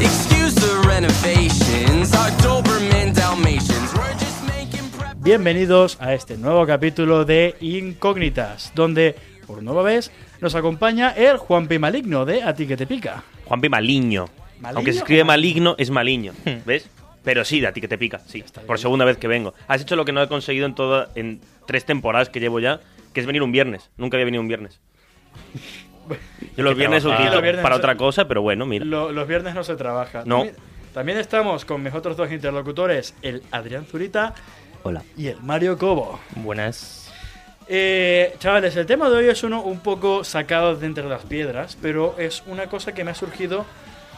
Excuse the renovations, our Doberman Dalmatians. We're just making prep. Bienvenidos a este nuevo capítulo de Incógnitas, donde por nueva vez nos acompaña el Juanpi Maligno de A ti que te pica. Juanpi Maligno. ¿Maligno? Hmm. Aunque se escribe maligno, es maligno. ¿Ves? Pero sí, de a ti que te pica, sí. Por segunda vez que vengo. Has hecho lo que no he conseguido en toda, en tres temporadas que llevo ya, que es venir un viernes. Nunca había venido un viernes. Yo los viernes trabajar. utilizo Los viernes para no- otra cosa, pero bueno, mira. Lo- los viernes no se trabaja. No. También, también estamos con mis otros dos interlocutores, el Adrián Zurita Hola. y el Mario Cobo. Buenas. Eh, chavales, el tema de hoy es uno un poco sacado de entre las piedras, pero es una cosa que me ha surgido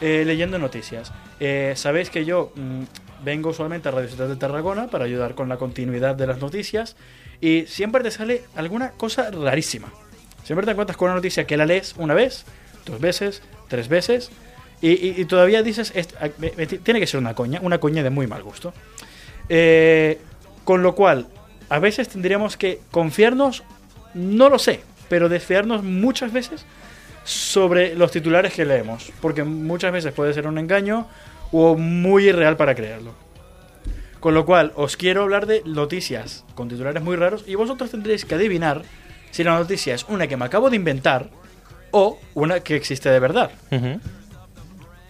eh, leyendo noticias. Eh, Sabéis que yo mm, vengo usualmente a Radio Ciudad de Tarragona para ayudar con la continuidad de las noticias y siempre te sale alguna cosa rarísima. Siempre te encuentras con una noticia que la lees una vez, dos veces, tres veces y, y- y todavía dices, "Est- ah, me- me- tiene que ser una coña, una coña de muy mal gusto. Eh, con lo cual, a veces tendríamos que confiarnos, no lo sé, pero desfiarnos muchas veces sobre los titulares que leemos, porque muchas veces puede ser un engaño o muy irreal para creerlo. Con lo cual, os quiero hablar de noticias con titulares muy raros y vosotros tendréis que adivinar si la noticia es una que me acabo de inventar o una que existe de verdad.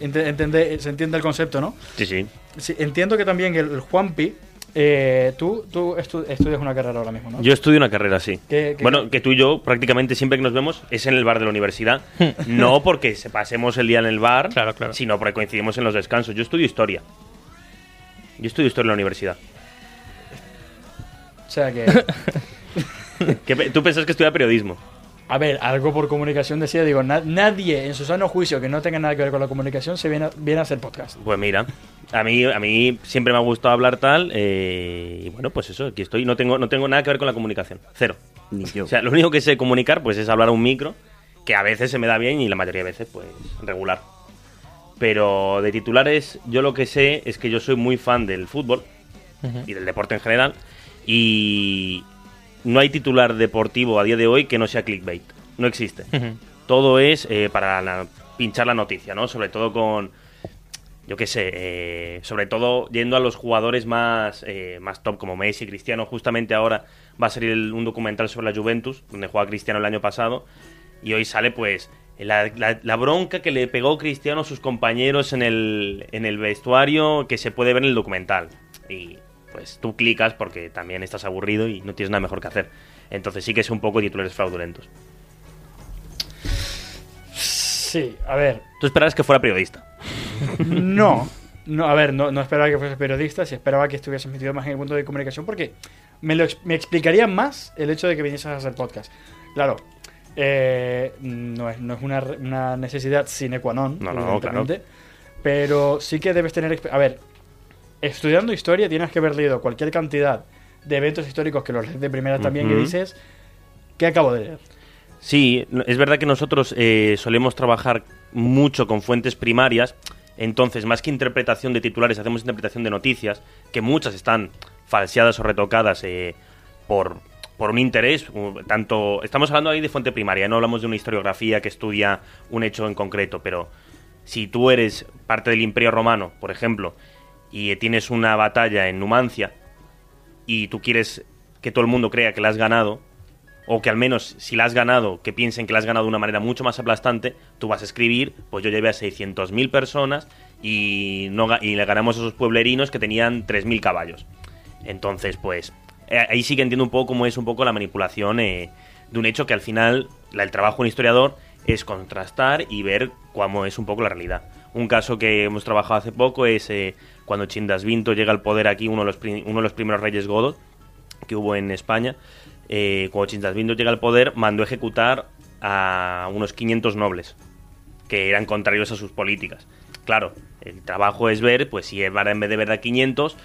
Ente- entende- se entiende el concepto, ¿no? Sí, sí. Sí, entiendo que también el, el Juanpi, eh, tú, tú estu- estudias una carrera ahora mismo, ¿no? Yo estudio una carrera así. ¿Qué- qué- bueno, que tú y yo prácticamente siempre que nos vemos es en el bar de la universidad. no porque se pasemos el día en el bar, Claro, claro. sino porque coincidimos en los descansos. Yo estudio historia. Yo estudio historia en la universidad. O sea que, ¿Qué pe- ¿Tú pensás que estudia periodismo? a ver, algo por comunicación decía, digo, na- nadie en su sano juicio que no tenga nada que ver con la comunicación se viene a, viene a hacer podcast. Pues mira, a mí, a mí siempre me ha gustado hablar tal, eh, y bueno, pues eso, aquí estoy. No tengo, no tengo nada que ver con la comunicación, cero. Ni yo. O sea, lo único que sé comunicar, pues es hablar a un micro, que a veces se me da bien y la mayoría de veces, pues, regular. Pero de titulares, yo lo que sé es que yo soy muy fan del fútbol y del deporte en general, y no hay titular deportivo a día de hoy que no sea clickbait. No existe. Todo es eh, para la- pinchar la noticia, ¿no? Sobre todo con, yo qué sé, eh, sobre todo yendo a los jugadores más, eh, más top como Messi, Cristiano, justamente ahora va a salir el- un documental sobre la Juventus, donde juega Cristiano el año pasado, y hoy sale pues la, la- la bronca que le pegó Cristiano a sus compañeros en el, en el vestuario que se puede ver en el documental. Y pues tú clicas porque también estás aburrido y no tienes nada mejor que hacer. Entonces sí que es un poco titulares fraudulentos. Sí, a ver, Tú esperabas que fuera periodista. no, no, a ver, no, no esperaba que fueses periodista, si esperaba que estuvieses metido más en el mundo de comunicación, porque me, lo, ex- me explicaría más el hecho de que vinieses a hacer podcast. Claro, eh, no es, no es una, re- una necesidad sine qua non, No, no, evidentemente, pero sí que debes tener... exp- A ver, estudiando historia tienes que haber leído cualquier cantidad de eventos históricos que los lees de primera también que Ujú. dices, ¿qué acabo de leer? Sí, no- es verdad que nosotros eh, solemos trabajar mucho con fuentes primarias, entonces más que interpretación de titulares hacemos interpretación de noticias, que muchas están falseadas o retocadas eh, por, por un interés, u- tanto estamos hablando ahí de fuente primaria, no hablamos de una historiografía que estudia un hecho en concreto, pero si tú eres parte del Imperio Romano, por ejemplo, y eh, tienes una batalla en Numancia, y tú quieres que todo el mundo crea que la has ganado, o que al menos si la has ganado, que piensen que la has ganado de una manera mucho más aplastante, tú vas a escribir, pues yo llevé a 600.000 personas y, no, ga- y le ganamos a esos pueblerinos que tenían 3.000 caballos. Entonces, pues eh, ahí sí que entiendo un poco cómo es un poco la manipulación eh, de un hecho que al final la- el trabajo de un historiador es contrastar y ver cómo es un poco la realidad. Un caso que hemos trabajado hace poco es eh, cuando Chindasvinto llega al poder aquí, uno de los, pri- uno de los primeros reyes godos, que hubo en España, eh, cuando Chindasvindo llega al poder, mandó ejecutar a unos 500 nobles que eran contrarios a sus políticas. Claro, el trabajo es ver, pues si era en vez de ver a 500,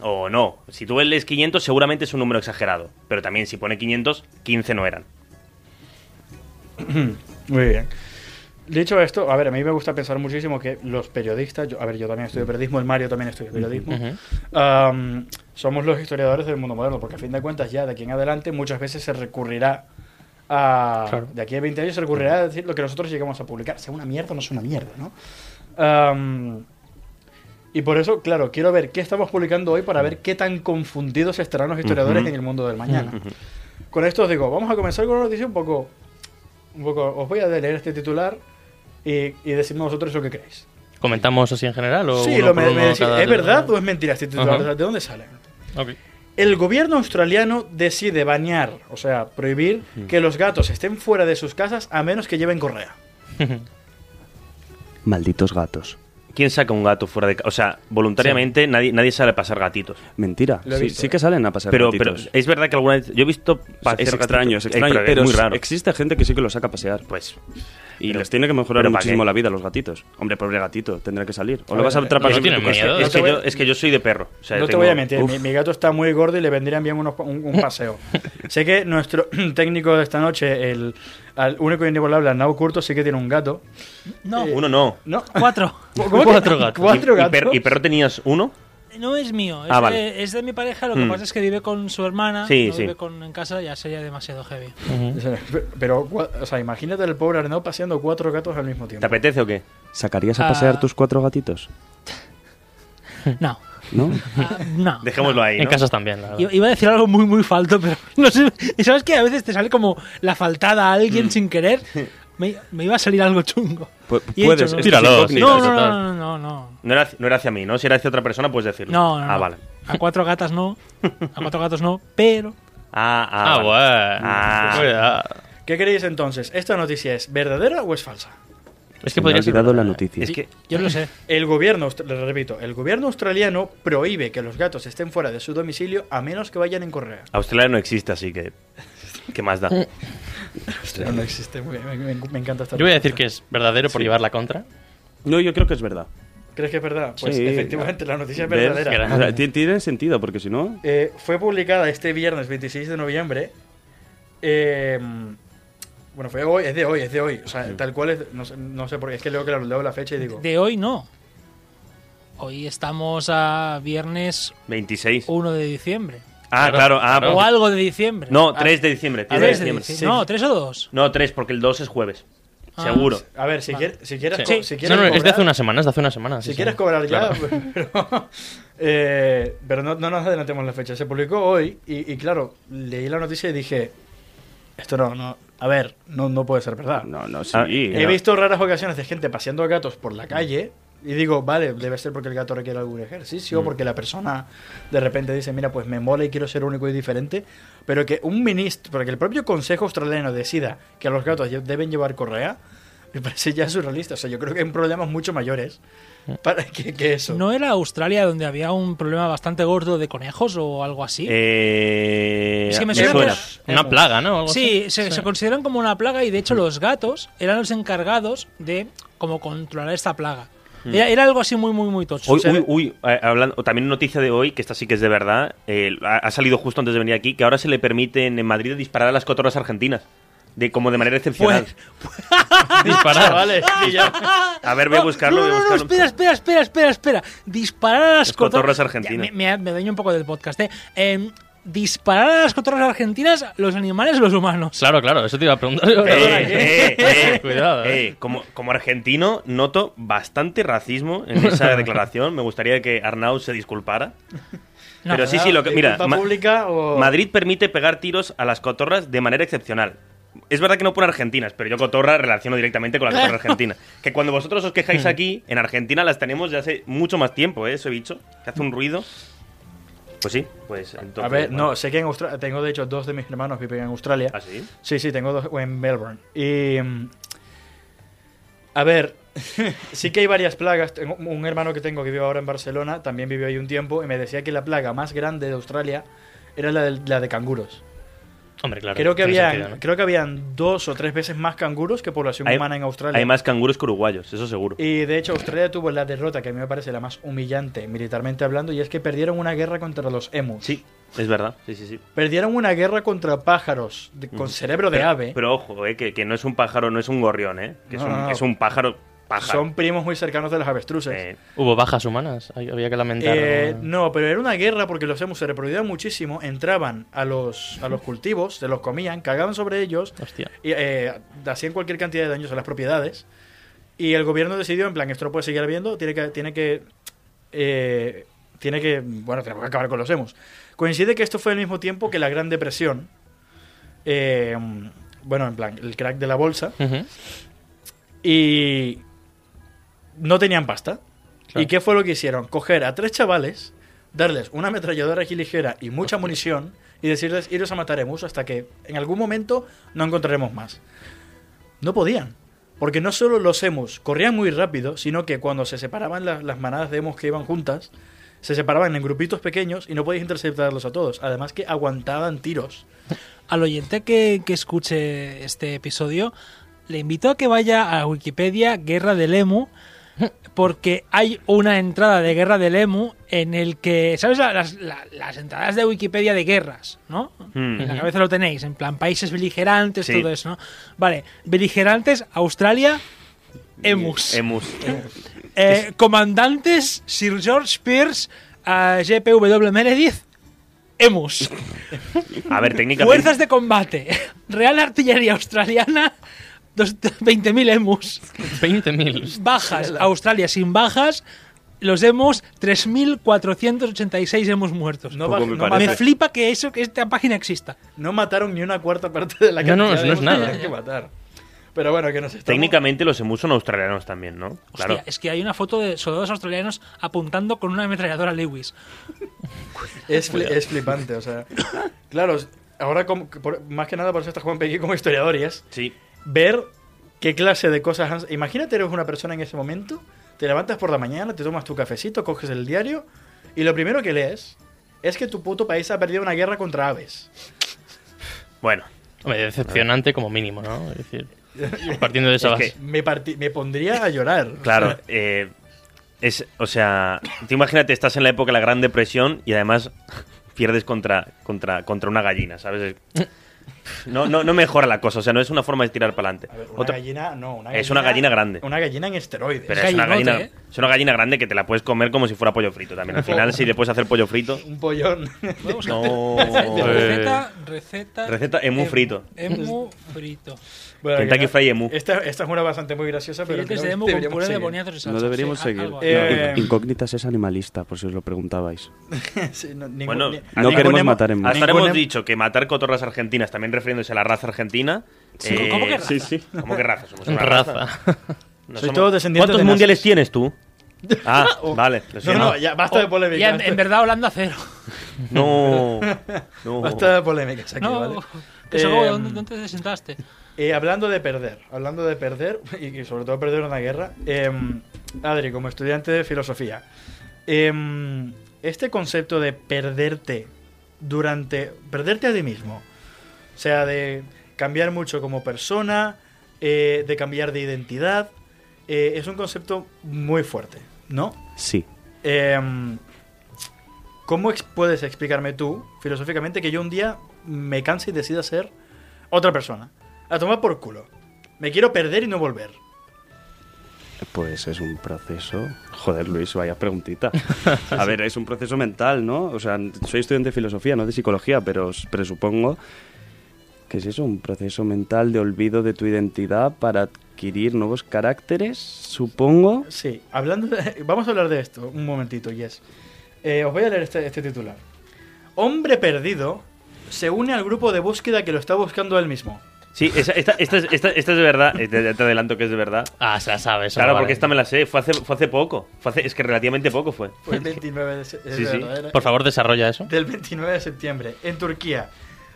o no. Si tú lees 500 seguramente es un número exagerado, pero también si pone 500, 15 no eran. Muy bien. Dicho esto, a ver, a mí me gusta pensar muchísimo que los periodistas, yo- a ver, yo también estudio periodismo, el Mario también estudia periodismo, am, somos los historiadores del mundo moderno, porque a fin de cuentas ya de aquí en adelante muchas veces se recurrirá a... Claro. De aquí a 20 años se recurrirá a decir lo que nosotros llegamos a publicar, sea una mierda o no sea una mierda, ¿no? Am, y por eso, claro, quiero ver qué estamos publicando hoy para ver qué tan confundidos estarán los historiadores Ujú. en el mundo del mañana. Con esto os digo, vamos a comenzar con una noticia un poco... Un poco os voy a leer este titular y, y decidme vosotros lo que creéis. ¿Comentamos así en general? O Sí, uno lo por me- uno me decís, cada- ¿es verdad o es mentira este titular? Ajá. ¿De dónde sale? Ok. El gobierno australiano decide bañar, o sea, prohibir que los gatos estén fuera de sus casas a menos que lleven correa. Malditos gatos. ¿Quién saca un gato fuera de casa? O sea, voluntariamente nadie, nadie sale a pasar gatitos. Mentira. Lo he Sí, visto, sí eh. que salen a pasar Pero, pero gatitos. es verdad que alguna vez. Yo he visto O sea, pasear es gatitos. extraño, es Eh, extraño, es pero muy es- raro. existe gente que sí que los saca a pasear. Pues Y Pero- les tiene que mejorar ¿pero pa' muchísimo qué? la vida a los gatitos. Hombre, pobre gatito, tendrá que salir. O A lo ver, vas a a ver, atrapar no siempre tienen tú con- miedo, es te que, voy a- yo, es que yo soy de perro. O sea, no te tengo- voy a mentir, Uf, mi, mi gato está muy gordo y le vendrían bien unos pa- un, un paseo. sé que nuestro técnico de esta noche, el al único y inigualable Arnau Curto, sí que tiene un gato. No, Uno no. ¿No? cuatro. ¿Cómo que- Cuatro gatos. Cuatro ¿Y- y, gatos. per- y perro tenías uno? No es mío, es, Ah, de- vale. es de mi pareja. Lo que Hmm. pasa es que vive con su hermana. Sí, no sí. vive con, en casa, ya sería demasiado heavy. Pero, cua- o sea, imagínate el pobre Arnau paseando cuatro gatos al mismo tiempo. ¿Te apetece o qué? ¿Sacarías a pasear Ah. tus cuatro gatitos? No, ¿No? ah, no. Dejémoslo ahí. En ¿no? casas también, la verdad. I- Iba a decir algo muy, muy falto, pero no sé. Y sabes que a veces te sale como la faltada a alguien Hmm. sin querer. Me, me iba a salir algo chungo. Pu- Y he puedes, dicho, esto no. es Tíralos. incógnito. No, no, total. no, no, no, no. No era, no era hacia mí, ¿no? Si era hacia otra persona, puedes decirlo. No, no, Ah, no. vale. A cuatro gatas no. A cuatro gatos no, pero. Ah, ah, Ah, vale. bueno. Ah. Cuidado. ¿Qué creéis entonces? ¿Esta noticia es verdadera o es falsa? Es que Se me ha podría ser. olvidado la verdad. noticia. Es que Yo lo sé. El gobierno, austra- les repito, el gobierno australiano prohíbe que los gatos estén fuera de su domicilio a menos que vayan en correa. Australia no existe, así que. ¿Qué más da? No, no existe, muy bien, me, me- me encanta esta Yo voy a decir que es verdadero por llevar la contra. No, yo creo que es verdad. ¿Crees que es verdad? Pues Sí. efectivamente, la noticia es ¿Ves? verdadera. O sea, ti- tiene sentido, porque si no... Eh, fue publicada este viernes 26 de noviembre. Eh, bueno, fue hoy, es de hoy, es de hoy. O sea, tal cual es. No sé, no sé por qué, es que leo, claro, leo la fecha y digo. De hoy no. Hoy estamos a viernes 26. 1 de diciembre. ah, claro. Ah, O porque- algo de diciembre. No, Ah, 3 de diciembre. tío, tres de de diciembre, dici- sí. No, tres o dos. No, 3, porque el 2 es jueves. Ah. Seguro. A ver, si, quier- si quieres. Sí. co- si no, quieres no, es de hace cobrar- unas semanas, de hace unas semanas. Si sí, sí. quieres cobrar ya, pues, Claro. pero, eh, pero no, no nos adelantemos la fecha. Se publicó hoy y, y, claro, leí la noticia y dije, esto no, no a ver, no, no puede ser verdad. No, no, sí. Ah, He no. visto raras ocasiones de gente paseando gatos por la calle y digo, vale, debe ser porque el gato requiere algún ejercicio, Mm. porque la persona de repente dice, mira, pues me mola y quiero ser único y diferente, pero que un ministro, porque el propio Consejo Australiano decida que los gatos lle- deben llevar correa, me parece ya surrealista. O sea, yo creo que hay problemas mucho mayores Mm. para que, que eso. ¿No era Australia donde había un problema bastante gordo de conejos o algo así? Eh, Es que me suena suena. que- Una plaga, ¿no? Algo Sí, así. se, se consideran como una plaga y de hecho los gatos eran los encargados de como controlar esta plaga. Era, era algo así muy, muy, muy tocho. Uy, Sucede- uy, uy, eh, hablando, también noticia de hoy, que esta sí que es de verdad, eh, ha, ha salido justo antes de venir aquí, que ahora se le permiten en Madrid disparar a las cotorras argentinas, de como de manera excepcional. Disparar. Vale, Ah. y ya. a ver, voy a buscarlo. ¡Ah! voy No, a no, no, buscarlo. espera, espera, espera, espera, espera. Disparar a las, Las cotor- cotorras Ya, argentinas. me, me, me daño un poco del podcast, ¿eh? Eh, disparar a las cotorras argentinas, los animales, los humanos. Claro, claro, eso te iba a preguntar. Eh, eh, eh, Cuidado, eh. eh, como, como argentino noto bastante racismo en esa declaración. Me gustaría que Arnau se disculpara. No, Pero sí, sí, lo que, mira, ¿Disculpa Ma- pública o- Madrid permite pegar tiros a las cotorras de manera excepcional. Es verdad que no por argentinas, pero yo cotorra relaciono directamente con la cotorra argentina. Que cuando vosotros os Mm. quejáis aquí, en Argentina las tenemos ya hace mucho más tiempo, ¿eh? Ese bicho que hace un ruido. Pues sí, pues entonces. A ver, bueno. no, sé que en Australia, tengo de hecho dos de mis hermanos viven en Australia. ¿Ah, sí? Sí, sí, tengo dos en Melbourne. Y. mm, A ver, sí que hay varias plagas. Tengo un hermano que tengo que vive ahora en Barcelona, también vivió ahí un tiempo, y me decía que la plaga más grande de Australia era la de, la de canguros. Hombre, claro. Creo que, tiene habían, sentido, ¿no? creo que habían dos o tres veces más canguros que población Hay- humana en Australia. Hay más canguros que uruguayos, eso seguro. Y de hecho, Australia tuvo la derrota que a mí me parece la más humillante militarmente hablando, y es que perdieron una guerra contra los emus. Sí, es verdad. Sí, sí, sí. Perdieron una guerra contra pájaros de- con cerebro de Pero- ave. Pero ojo, eh, que, que no es un pájaro, no es un gorrión, eh. Que es, No, un, no, no. es un pájaro pájaro. Son primos muy cercanos de los avestruces. Eh, Hubo bajas humanas, hay- había que lamentar. Eh, ¿no? no, pero era una guerra porque los emus se reproducían muchísimo, entraban a los, a los cultivos, se los comían, cagaban sobre ellos, Hostia. y, eh, hacían cualquier cantidad de daños a las propiedades. Y el gobierno decidió, en plan, esto no puede seguir habiendo, tiene que... Tiene que, eh, tiene que bueno, tenemos que acabar con los emus. Coincide que esto fue al mismo tiempo que la Gran Depresión. eh, bueno, en plan, el crack de la bolsa. Ujú. Y no tenían pasta. Claro. ¿Y qué fue lo que hicieron? Coger a tres chavales, darles una ametralladora aquí ligera y mucha munición y decirles, iros a mataremos hasta que en algún momento no encontraremos más. No podían. Porque no solo los emus corrían muy rápido, sino que cuando se separaban la- las manadas de emus que iban juntas, se separaban en grupitos pequeños y no podías interceptarlos a todos. Además que aguantaban tiros. Al oyente que, que escuche este episodio, le invito a que vaya a Wikipedia Guerra del Emu, porque hay una entrada de Guerra del Emu en el que, ¿sabes? La- Las, la- las entradas de Wikipedia de guerras, ¿no? hmm. En la cabeza lo tenéis, en plan países beligerantes, Sí. todo eso, ¿no? Vale, beligerantes, Australia, emus. Emus. Eh, comandantes, Sir George Pierce, eh, a GPW Meredith, emus. A ver, técnicamente. Fuerzas de combate. Real Artillería Australiana. dos- 20.000 emus. 20.000. Bajas. Australia sin bajas. Los emus, 3.486 emus muertos. No, Poco va- me no Me parece. mata- flipa que, eso, que esta página exista. no mataron ni una cuarta parte de la No, cantidad no, no de es emus que nada. tenían que matar. Pero bueno, que nos estamos... Técnicamente los emus son australianos también, ¿no? Hostia, claro. es que hay una foto de soldados australianos apuntando con una ametralladora Lewis. Es, fli- es flipante, o sea. Claro, ahora como- por- más que nada por eso está Juan Pequi como historiador y es Sí. ver qué clase de cosas... han- Imagínate eres una persona en ese momento, te levantas por la mañana, te tomas tu cafecito, coges el diario y lo primero que lees es que tu puto país ha perdido una guerra contra aves. Bueno, Hombre, decepcionante como mínimo, ¿no? Es decir, partiendo de esa Es que- base. Me, parti- me pondría a llorar. claro. eh, es, o sea, tú imagínate, estás en la época de la Gran Depresión y además pierdes contra, contra, contra una gallina, ¿sabes? No, no, no mejora la cosa, o sea, no es una forma de tirar para adelante. A ver, una Otra- gallina, no, una Es una gallina grande. Una gallina en esteroides. Pero es una, Gallinote, gallina, es una gallina grande que te la puedes comer como si fuera pollo frito también. Al final, si le puedes hacer pollo frito. Un pollón. No. Receta, receta. em- Receta emu frito. Emu frito. Bueno, Kentucky que- Fried Emu. Esta, esta es una bastante muy graciosa, pero Filetes creo de que emu con deberíamos puré de seguir. boniatos y salsa. No deberíamos Sí, Ah, seguir. algo así. Eh, No, Incógnitas es animalista, por si os lo preguntabais. Sí, no, ningún- Bueno, ni- no ningún queremos emo- matar emus. Hasta ahora ningún hemos em- dicho que matar cotorras argentinas, también refiriéndose a la raza argentina. eh, Sí, ¿cómo que raza? Sí, sí. ¿Cómo que raza? Somos una raza. Raza. No Soy todo descendiente ¿Cuántos de mundiales nazis. tienes tú? Ah, vale. lo No, siento. no, ya basta de Oh, polémica. ya, en, en verdad Holanda cero. No. no. Basta de polémicas aquí, No, ¿vale? que se acabó, Eh, ¿dónde, dónde te sentaste? Eh, hablando de perder, hablando de perder, y, y sobre todo perder una guerra, em, Adri, como estudiante de filosofía, em, este concepto de perderte durante. perderte a ti mismo, o sea, de cambiar mucho como persona, eh, de cambiar de identidad, eh, es un concepto muy fuerte, ¿no? Sí. Em, ¿Cómo ex- puedes explicarme tú, filosóficamente, que yo un día me canse y decida ser otra persona? A tomar por culo. Me quiero perder y no volver. Pues es un proceso. Joder, Luis, vaya preguntita. A ver, es un proceso mental, ¿no? O sea, soy estudiante de filosofía, no de psicología, pero os presupongo que es eso, un proceso mental de olvido de tu identidad para adquirir nuevos caracteres, supongo. Sí, hablando de- vamos a hablar de esto un momentito, Yes. Eh, os voy a leer este, este titular. Hombre perdido se une al grupo de búsqueda que lo está buscando él mismo. Sí, esa- esta, esta, es- esta- esta es de verdad. eh, Te, te adelanto que es de verdad. Ah, se la sabe. eso Claro, no porque vale. esta me la sé. Fue hace, fue hace poco. Fue hace- es que relativamente poco fue. Fue el 29 Pues de, ¿eh? se- es Sí, sí. verdadera. Por favor, desarrolla eso. del 29 de septiembre en Turquía.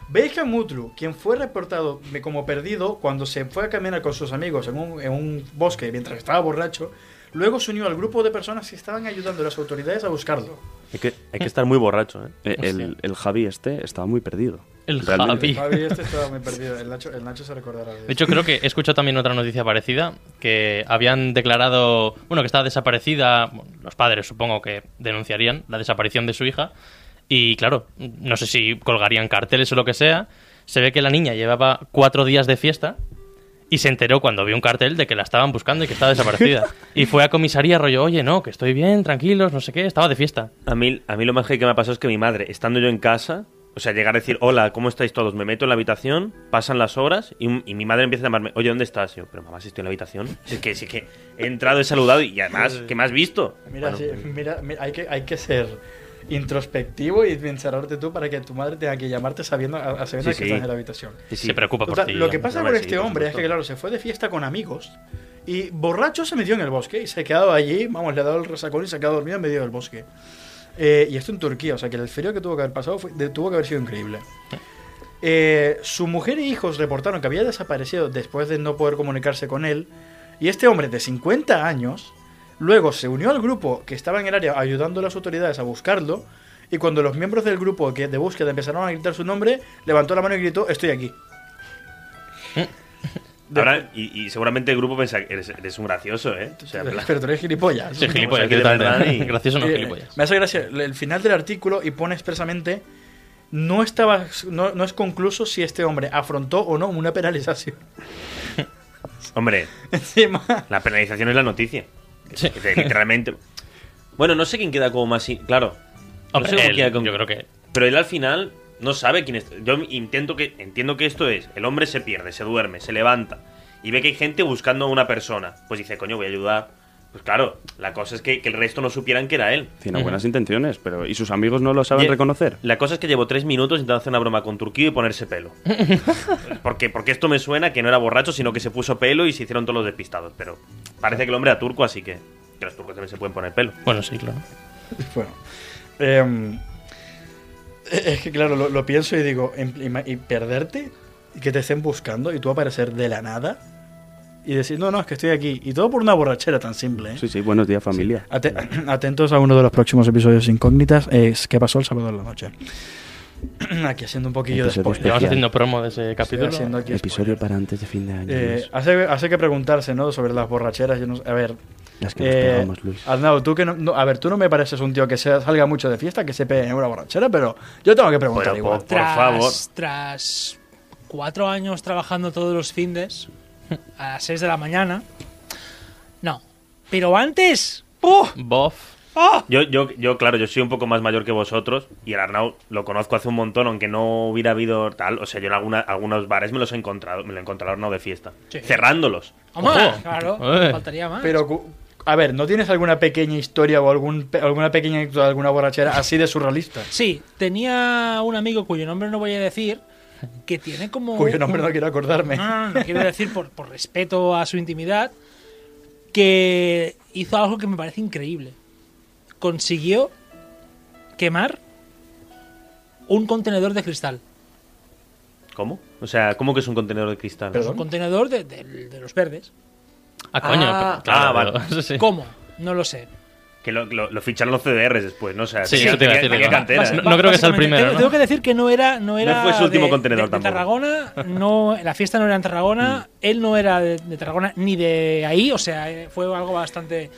Beyhan Mutlu, quien fue reportado me- como perdido cuando se fue a caminar con sus amigos en un, en un bosque mientras estaba borracho, luego se unió al grupo de personas que estaban ayudando a las autoridades a buscarlo. Hay que, hay que estar muy borracho, ¿eh? Eh, El, el Javi este estaba muy perdido. El Realmente. Javi. Javi, este estaba muy perdido. El Nacho, el Nacho se recordará. de De hecho, creo que he escuchado también otra noticia parecida, que habían declarado, bueno, que estaba desaparecida, bueno, los padres supongo que denunciarían la desaparición de su hija, y claro, no sé si colgarían carteles o lo que sea, se ve que la niña llevaba cuatro días de fiesta y se enteró cuando vio un cartel de que la estaban buscando y que estaba desaparecida. Y fue a comisaría rollo, oye, no, que estoy bien, tranquilos, no sé qué, estaba de fiesta. A mí, a mí lo más que me ha pasado es que mi madre, estando yo en casa, o sea, llegar a decir, hola, ¿cómo estáis todos? Me meto en la habitación, pasan las horas y, y mi madre empieza a llamarme, oye, ¿dónde estás? Y yo, pero mamá, si estoy en la habitación. Si es que, si es que he entrado, he saludado y además, ¿qué me has visto? Mira, Bueno, eh. sí, mira, mira, hay, que, hay que ser introspectivo y encerrarte tú para que tu madre tenga que llamarte sabiendo, a, a sabiendas Sí, que sí. estás en la habitación. sí, sí. Se preocupa por O sea, ti. lo que ¿no? pasa no, con sí, este por hombre es que, supuesto. claro, se fue de fiesta con amigos y borracho se metió en el bosque y se ha quedado allí, vamos, le ha dado el resacón y se ha quedado dormido en medio del bosque. Eh, y esto en Turquía, o sea que el frío que tuvo que haber pasado fue- de- tuvo que haber sido increíble. Eh, su mujer e hijos reportaron que había desaparecido después de no poder comunicarse con él. Y este hombre de 50 años luego se unió al grupo que estaba en el área ayudando a las autoridades a buscarlo. Y cuando los miembros del grupo que de búsqueda empezaron a gritar su nombre, levantó la mano y gritó: Estoy aquí. Ahora, y, y seguramente el grupo piensa que eres, eres un gracioso, ¿eh? O sea, en plan- Pero tú eres gilipollas. Sí, gilipollas, aquí de directamente. verdad y- Gracioso no, Eh, gilipollas. Me hace gracia el final del artículo y pone expresamente no estaba no, no es concluso si este hombre afrontó o no una penalización. Hombre, Encima. la penalización es la noticia. Sí. Es decir, Literalmente. Bueno, no sé quién queda como más. in- Claro. No Hombre, sé cómo él, queda con- Yo creo que Pero él al final no sabe quién es. Yo intento que, entiendo que esto es: el hombre se pierde, se duerme, se levanta y ve que hay gente buscando a una persona. Pues dice, coño, voy a ayudar. Pues claro, la cosa es que, que el resto no supieran que era él. Tiene buenas intenciones, pero. ¿Y sus amigos no lo saben Ye- reconocer? La cosa es que llevo tres minutos intentando hacer una broma con Turquío y ponerse pelo. porque, porque esto me suena que no era borracho, sino que se puso pelo y se hicieron todos los despistados. Pero parece que el hombre era turco, así que, que los turcos también se pueden poner pelo. Bueno, sí, claro. Bueno. em, e-, es que claro, lo, lo pienso y digo, em- ima- y perderte y que te estén buscando y tú aparecer de la nada y decir, no, no, es que estoy aquí. Y todo por una borrachera tan simple. ¿eh? Sí, sí, buenos días, familia. Ate- atentos a uno de los próximos episodios incógnitas. Es ¿Qué pasó el sábado en la noche? Aquí haciendo un poquillo de Episodio spoiler. Llevamos Especial. haciendo promo de ese Estoy capítulo. haciendo aquí Episodio spoiler. para antes de fin de año. Eh, Luis. hace, hace que preguntarse, ¿no? Sobre las borracheras. yo no sé- a ver. Las que nos eh, pegamos, Luis. Arnau, tú que no, no- A ver, tú no me pareces un tío que se- salga mucho de fiesta, que se pegue en una borrachera, pero yo tengo que preguntar Pero, igual. po- Por favor. Tras cuatro años trabajando todos los findes, a las seis de la mañana. No. Pero antes. ¡uh! ¡Ah! ¡puh! Bof. Yo, yo, yo, claro, yo soy un poco más mayor que vosotros y el Arnau lo conozco hace un montón, aunque no hubiera habido tal. O sea, yo en alguna- algunos bares me los he encontrado, me lo he encontrado Arnau de fiesta. Sí. Cerrándolos. Hombre, Ojo. claro, Eh. faltaría más. Pero, cu- a ver, ¿no tienes alguna pequeña historia o algún, pe- alguna pequeña anécdota de alguna borrachera así de surrealista? Sí, tenía un amigo cuyo nombre no voy a decir, que tiene como... Cuyo nombre no quiero acordarme. No, no, no, no quiero decir por, por respeto a su intimidad, que hizo algo que me parece increíble. Consiguió quemar un contenedor de cristal. ¿Cómo? O sea, ¿cómo que es un contenedor de cristal? Perdón. Un contenedor de, de- de los verdes. Ah, coño. Ah. pero- claro, Ah, vale. pero- eso sí. ¿Cómo? No lo sé. Que lo, lo- lo ficharon los CDRs después, ¿no? O sea, Sí, tenía- eso te tenía- iba a decir, tenía ¿no? cantera, Vas- ¿eh? no creo que sea el Básicamente, primero, Tengo, ¿no? tengo que decir que no era. No, era fue su último de- contenedor de, de tampoco. Mm. Tarragona, no, la fiesta no era en Tarragona, él no era de, de Tarragona ni de ahí, o sea, eh, fue algo bastante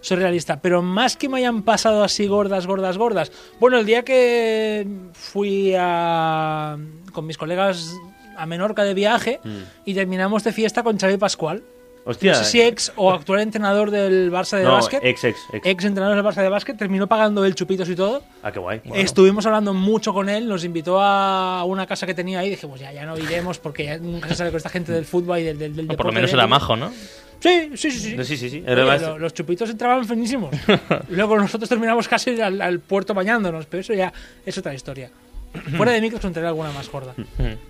surrealista. Pero más que me hayan pasado así gordas, gordas, gordas. Bueno, el día que fui a, con mis colegas a Menorca de viaje y terminamos de fiesta con Xavi Pascual. Mm. Hostia. eh, No sé si ex o actual entrenador del Barça de no, básquet. ex, ex, ex. Ex entrenador del Barça de básquet, terminó pagando el chupitos y todo. Ah, qué guay. Estuvimos hablando mucho con él, nos invitó a una casa que tenía ahí, dijimos, ya, ya no iremos porque ya nunca se sabe con esta gente del fútbol y del, del, del O por lo deporte menos de- era majo, ¿no? Sí, sí, sí. sí. No, sí, sí, sí. Oye, Era más- lo- los chupitos entraban finísimos. Luego nosotros terminamos casi al, al puerto bañándonos, pero eso ya es otra historia. Fuera de mí que os contaré alguna más gorda.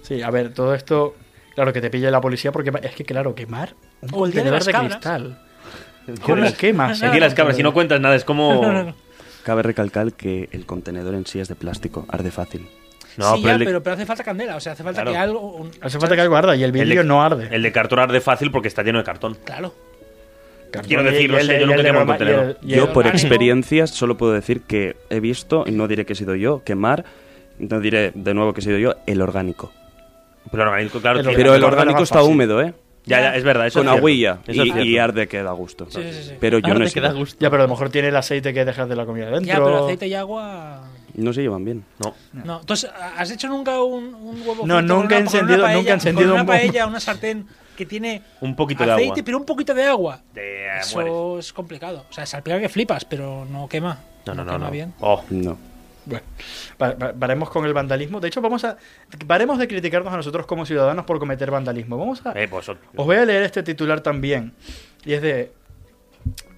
Sí, a ver, todo esto. Claro, que te pille la policía porque es que, claro, quemar un O el día de contenedor las de cabras. cristal. ¿Cómo quemas? El día de las cabras, si no cuentas nada, es como. No, no, no. Cabe recalcar que el contenedor en sí es de plástico, arde fácil. No, pero sí, ya, el de- pero, pero hace falta candela, o sea, hace falta Claro. que algo... un- Hace falta que algo arda y el el de- vidrio no arde. El de cartón arde fácil porque está lleno de cartón. Claro. Cartón quiero y- decir, y no el- sé, yo y el nunca de he quemado un broma- y el- contenedor. y el Yo, por orgánico. experiencias, solo puedo decir que he visto, y no diré que he sido yo, quemar no diré de nuevo que he sido yo, el orgánico. Pero el orgánico, claro, El tiene- Pero el orgánico orgánico es más está fácil. húmedo, ¿eh? Ya, ya, es verdad. Eso Con es cierto. agüilla Eso es y, cierto. y arde que da gusto. Sí, sí, sí. Pero yo Ahora no he te queda sido. gusto. Ya, pero a lo mejor tiene el aceite que dejas de la comida dentro. Ya, pero aceite y agua. No se llevan bien. No. No, entonces, ¿has hecho nunca un, un huevo No, frito con nunca he una- con encendido- una paella- nunca he encendido con una un huevo. paella, una sartén que tiene Un poquito de aceite, agua. pero un poquito de agua. Te Eso mueres. es complicado. O sea, salpica que flipas, pero no quema. No, no, no. quema no. bien. Oh, No. Bueno, pa- pa- paremos con el vandalismo. De hecho, vamos a. Paremos de criticarnos a nosotros como ciudadanos por cometer vandalismo. Vamos a. eh, pues, Os voy a leer este titular también. Y es de.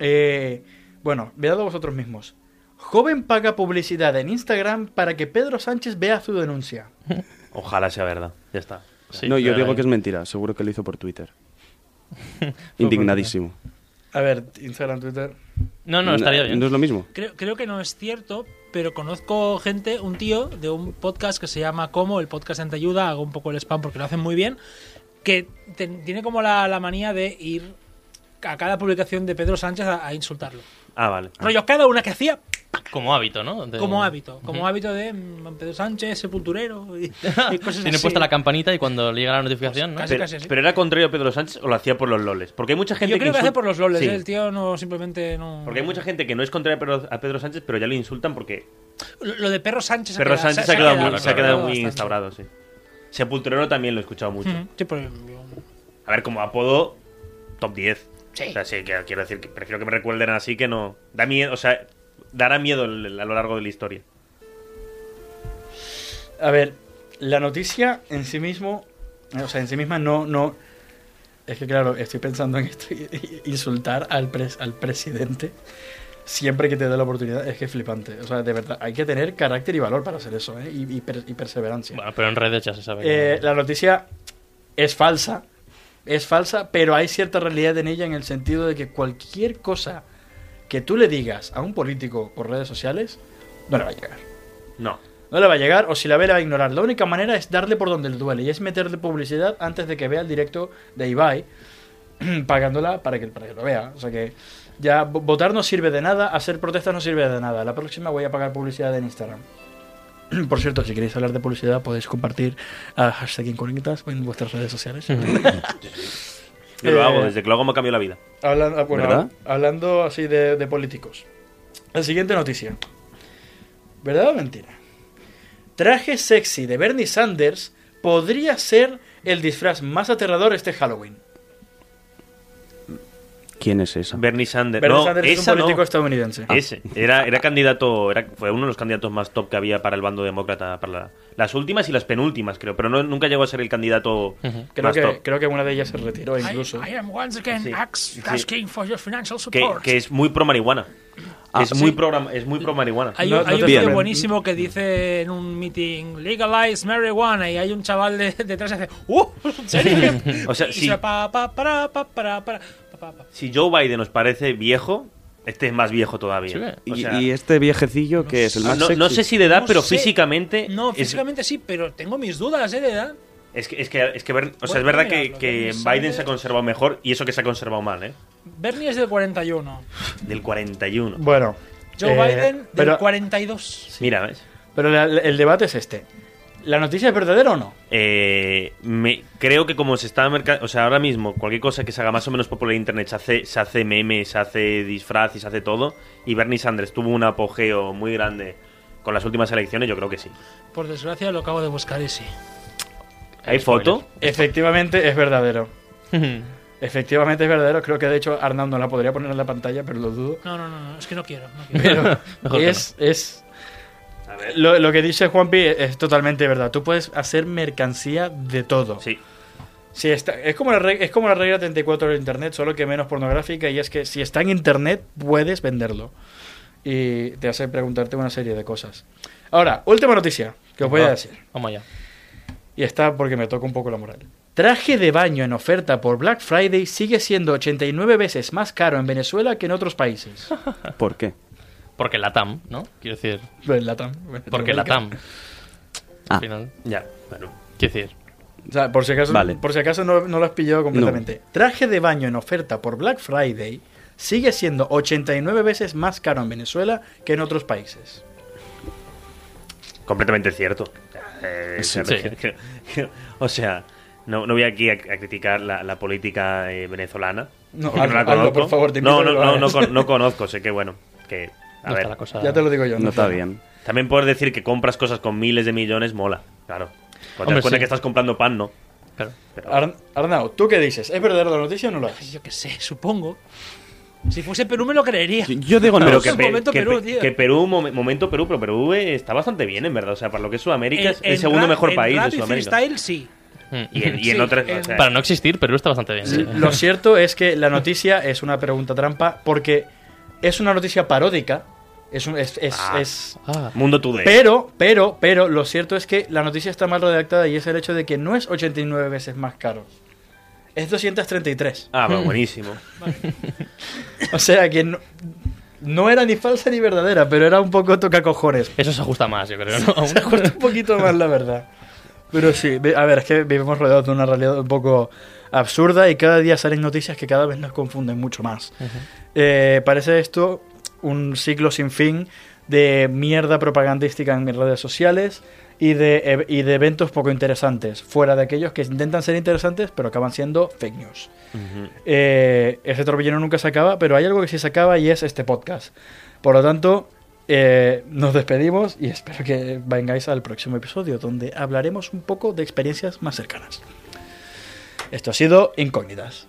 eh, bueno, veadlo vosotros mismos. Joven paga publicidad en Instagram para que Pedro Sánchez vea su denuncia. Ojalá sea verdad. Ya está. Sí, no, yo pero- digo que es mentira. Seguro que lo hizo por Twitter. Indignadísimo. A ver, Instagram, Twitter. No, no, estaría bien. No es lo mismo. Creo, creo que no es cierto, pero conozco gente, un tío de un podcast que se llama Como, el podcast de ayuda, hago un poco el spam porque lo hacen muy bien, que ten- tiene como la, la manía de ir a cada publicación de Pedro Sánchez a, a insultarlo. Ah, vale. Rollo, cada una que hacía Ah, Como hábito, ¿no? De- como hábito, como Ujú. hábito de mm, Pedro Sánchez, sepulturero y, y cosas Tiene así. puesta la campanita y cuando le llega la notificación, ¿no? Casi, Pero, casi así. pero era contrario a Pedro Sánchez o lo hacía por los loles. Porque hay mucha gente Yo creo que hace insul- por los loles, Sí. ¿eh? el tío no simplemente no... Porque hay mucha gente que no es contraria a Pedro, a Pedro Sánchez, pero ya lo insultan porque Lo lo de Perro Sánchez Pedro quedado- Sánchez se ha quedado, quedado- muy, se se ha quedado muy bastante. instaurado, sí. Sepulturero también lo he escuchado mucho. Ujú, sí, pero yo- A ver, como apodo, top 10. Sí. O sea, sí, que- quiero decir que prefiero que me recuerden así que no. Da miedo, o sea, dará miedo el- el- a lo largo de la historia. A ver, la noticia en sí mismo. O sea, en sí misma no. no es que claro, estoy pensando en esto. y- y- Insultar al, pres- al presidente siempre que te da la oportunidad es que es flipante. O sea, de verdad, hay que tener carácter y valor para hacer eso, ¿eh? Y, y per- y perseverancia. Bueno, pero en redes ya se sabe. que- Eh, la noticia es falsa, es falsa, pero hay cierta realidad en ella en el sentido de que cualquier cosa que tú le digas a un político por redes sociales, no le va a llegar. No. No le va a llegar, o si la ve, la va a ignorar. La única manera es darle por donde le duele, y es meterle publicidad antes de que vea el directo de Ibai, pagándola para que, para que lo vea. O sea que ya vo- votar no sirve de nada, hacer protestas no sirve de nada. La próxima voy a pagar publicidad en Instagram. Por cierto, si queréis hablar de publicidad, podéis compartir a hashtag Incógnitas en vuestras redes sociales. Yo lo Eh, hago, desde que lo hago me ha cambiado la vida. Hablan- ah, bueno, ¿Verdad? Hablando así de, de políticos. La siguiente noticia. ¿Verdad o mentira? Traje sexy de Bernie Sanders podría ser el disfraz más aterrador este Halloween. ¿Quién es esa? Bernie Sanders. Bernie Eh, no, Sanders es esa un político no. estadounidense. Ese. Era, era candidato, era, fue uno de los candidatos más top que había para el bando demócrata. Para la- las últimas y las penúltimas, creo. Pero no, nunca llegó a ser el candidato Creo más que, top. creo que una de ellas se retiró Pues incluso. I, I am once again Sí, ax- sí. asking for your financial Que, support. que es muy pro marihuana. Ah, es, muy pro, es muy pro marihuana. Hay, No- un- no hay te un vídeo sorprende. buenísimo que dice en un meeting legalize marijuana y hay un chaval de- detrás y hace ¡Uh! ¿En serio? O sea, y sí. se va pa, pa, para, pa, para, para, pa, pa, pa. Si Joe Biden nos parece viejo, este es más viejo todavía. Sí, O Y, sea, y este viejecillo que es el no, más no- no sexy? sé si de edad, No pero sé. físicamente. No, es- físicamente sí, pero tengo mis dudas, ¿eh? De edad. Es, que, es que, es que ver- o sea, es Bueno, verdad mira, que, que lo que me sale- Biden se ha conservado mejor y eso que se ha conservado mal, ¿eh? Bernie es del 41. Del 41. Bueno. Joe eh, Biden del pero 42. Mira, ¿ves? pero la- la- el debate es este. ¿La noticia es verdadera o no? Eh, me, creo que como se está merca- o sea, ahora mismo cualquier cosa que se haga más o menos popular en internet se hace, se hace meme, se hace disfraz y se hace todo. Y Bernie Sanders tuvo un apogeo muy grande con las últimas elecciones, yo creo que sí. Por desgracia lo acabo de buscar y sí. ¿Hay Spoiler. foto? Efectivamente es verdadero. Pero Efectivamente es verdadero. Creo que de hecho Arnaldo la podría poner en la pantalla, pero lo dudo. No, no, no, no, es que no quiero. No quiero. Pero Mejor que es, es lo, lo que dice Juanpi es, es totalmente verdad. Tú puedes hacer mercancía de todo. Sí. Si está, es, como la reg- es como la regla 34 del Internet, solo que menos pornográfica, y es que si está en Internet puedes venderlo. Y te hace preguntarte una serie de cosas. Ahora, última noticia que os voy a decir. Vamos allá. Y está porque me toca un poco la moral. Traje de baño en oferta por Black Friday sigue siendo 89 veces más caro en Venezuela que en otros países. ¿Por qué? Porque la TAM, ¿no? Quiero decir, En Latam. porque la TAM. Ah. Al final, Ya, bueno. quiero decir, O sea, por si acaso, Vale. por si acaso no, no lo has pillado completamente. Traje de baño en oferta por Black Friday sigue siendo 89 veces más caro en Venezuela que en otros países. completamente cierto. Eh, Sí. que- que- que- o sea, no, no voy aquí a, a criticar la, la política eh, venezolana. No, porque hazlo, hazlo, por favor, te invito no, a que no, lo no, hagas. no, con- no conozco, sé que bueno, que a No ver. está la cosa. Ya te lo digo yo. Ah, No está bien. También puedes decir que compras cosas con miles de millones, mola, claro. Cuando te Hombre, das cuenta sí. que estás comprando pan, no. Claro. Pero- Arn- Arnau, ¿tú qué dices? ¿Es verdadera la noticia o no lo es? Yo qué sé, supongo. Si fuese Perú me lo creería. Yo digo no. Pero que, un Pe- momento que Perú, Pe- tío. que Perú, mom- momento Perú, pero Perú eh, está bastante bien, en verdad. O sea, para lo que es Sudamérica, es En- el en segundo rap- mejor en país rap de y Sudamérica. freestyle, sí. Y en, y en Sí, otras. en- o sea, Para no existir, Perú está bastante bien. ¿eh? sí. Lo cierto es que la noticia es una pregunta trampa porque es una noticia paródica. Es un, es, es- Ah. es- Ah, Mundo Today. Pero, pero, pero, lo cierto es que la noticia está mal redactada y es el hecho de que no es 89 veces más caro. Es 233. Ah, bueno, buenísimo. O sea que no, no era ni falsa ni verdadera, pero era un poco toca cojones. eso se ajusta más, yo creo. ¿no? Se acuerda un poquito más, la verdad. Pero sí, ve- a ver, es que vivimos rodeados de una realidad un poco absurda y cada día salen noticias que cada vez nos confunden mucho más. Eh, parece esto un ciclo sin fin de mierda propagandística en mis redes sociales y de, ev- y de eventos poco interesantes, fuera de aquellos que intentan ser interesantes pero acaban siendo fake news. Eh, ese torbellino nunca se acaba, pero hay algo que sí se acaba y es este podcast. Por lo tanto, eh, nos despedimos y espero que vengáis al próximo episodio donde hablaremos un poco de experiencias más cercanas. Esto ha sido Incógnitas.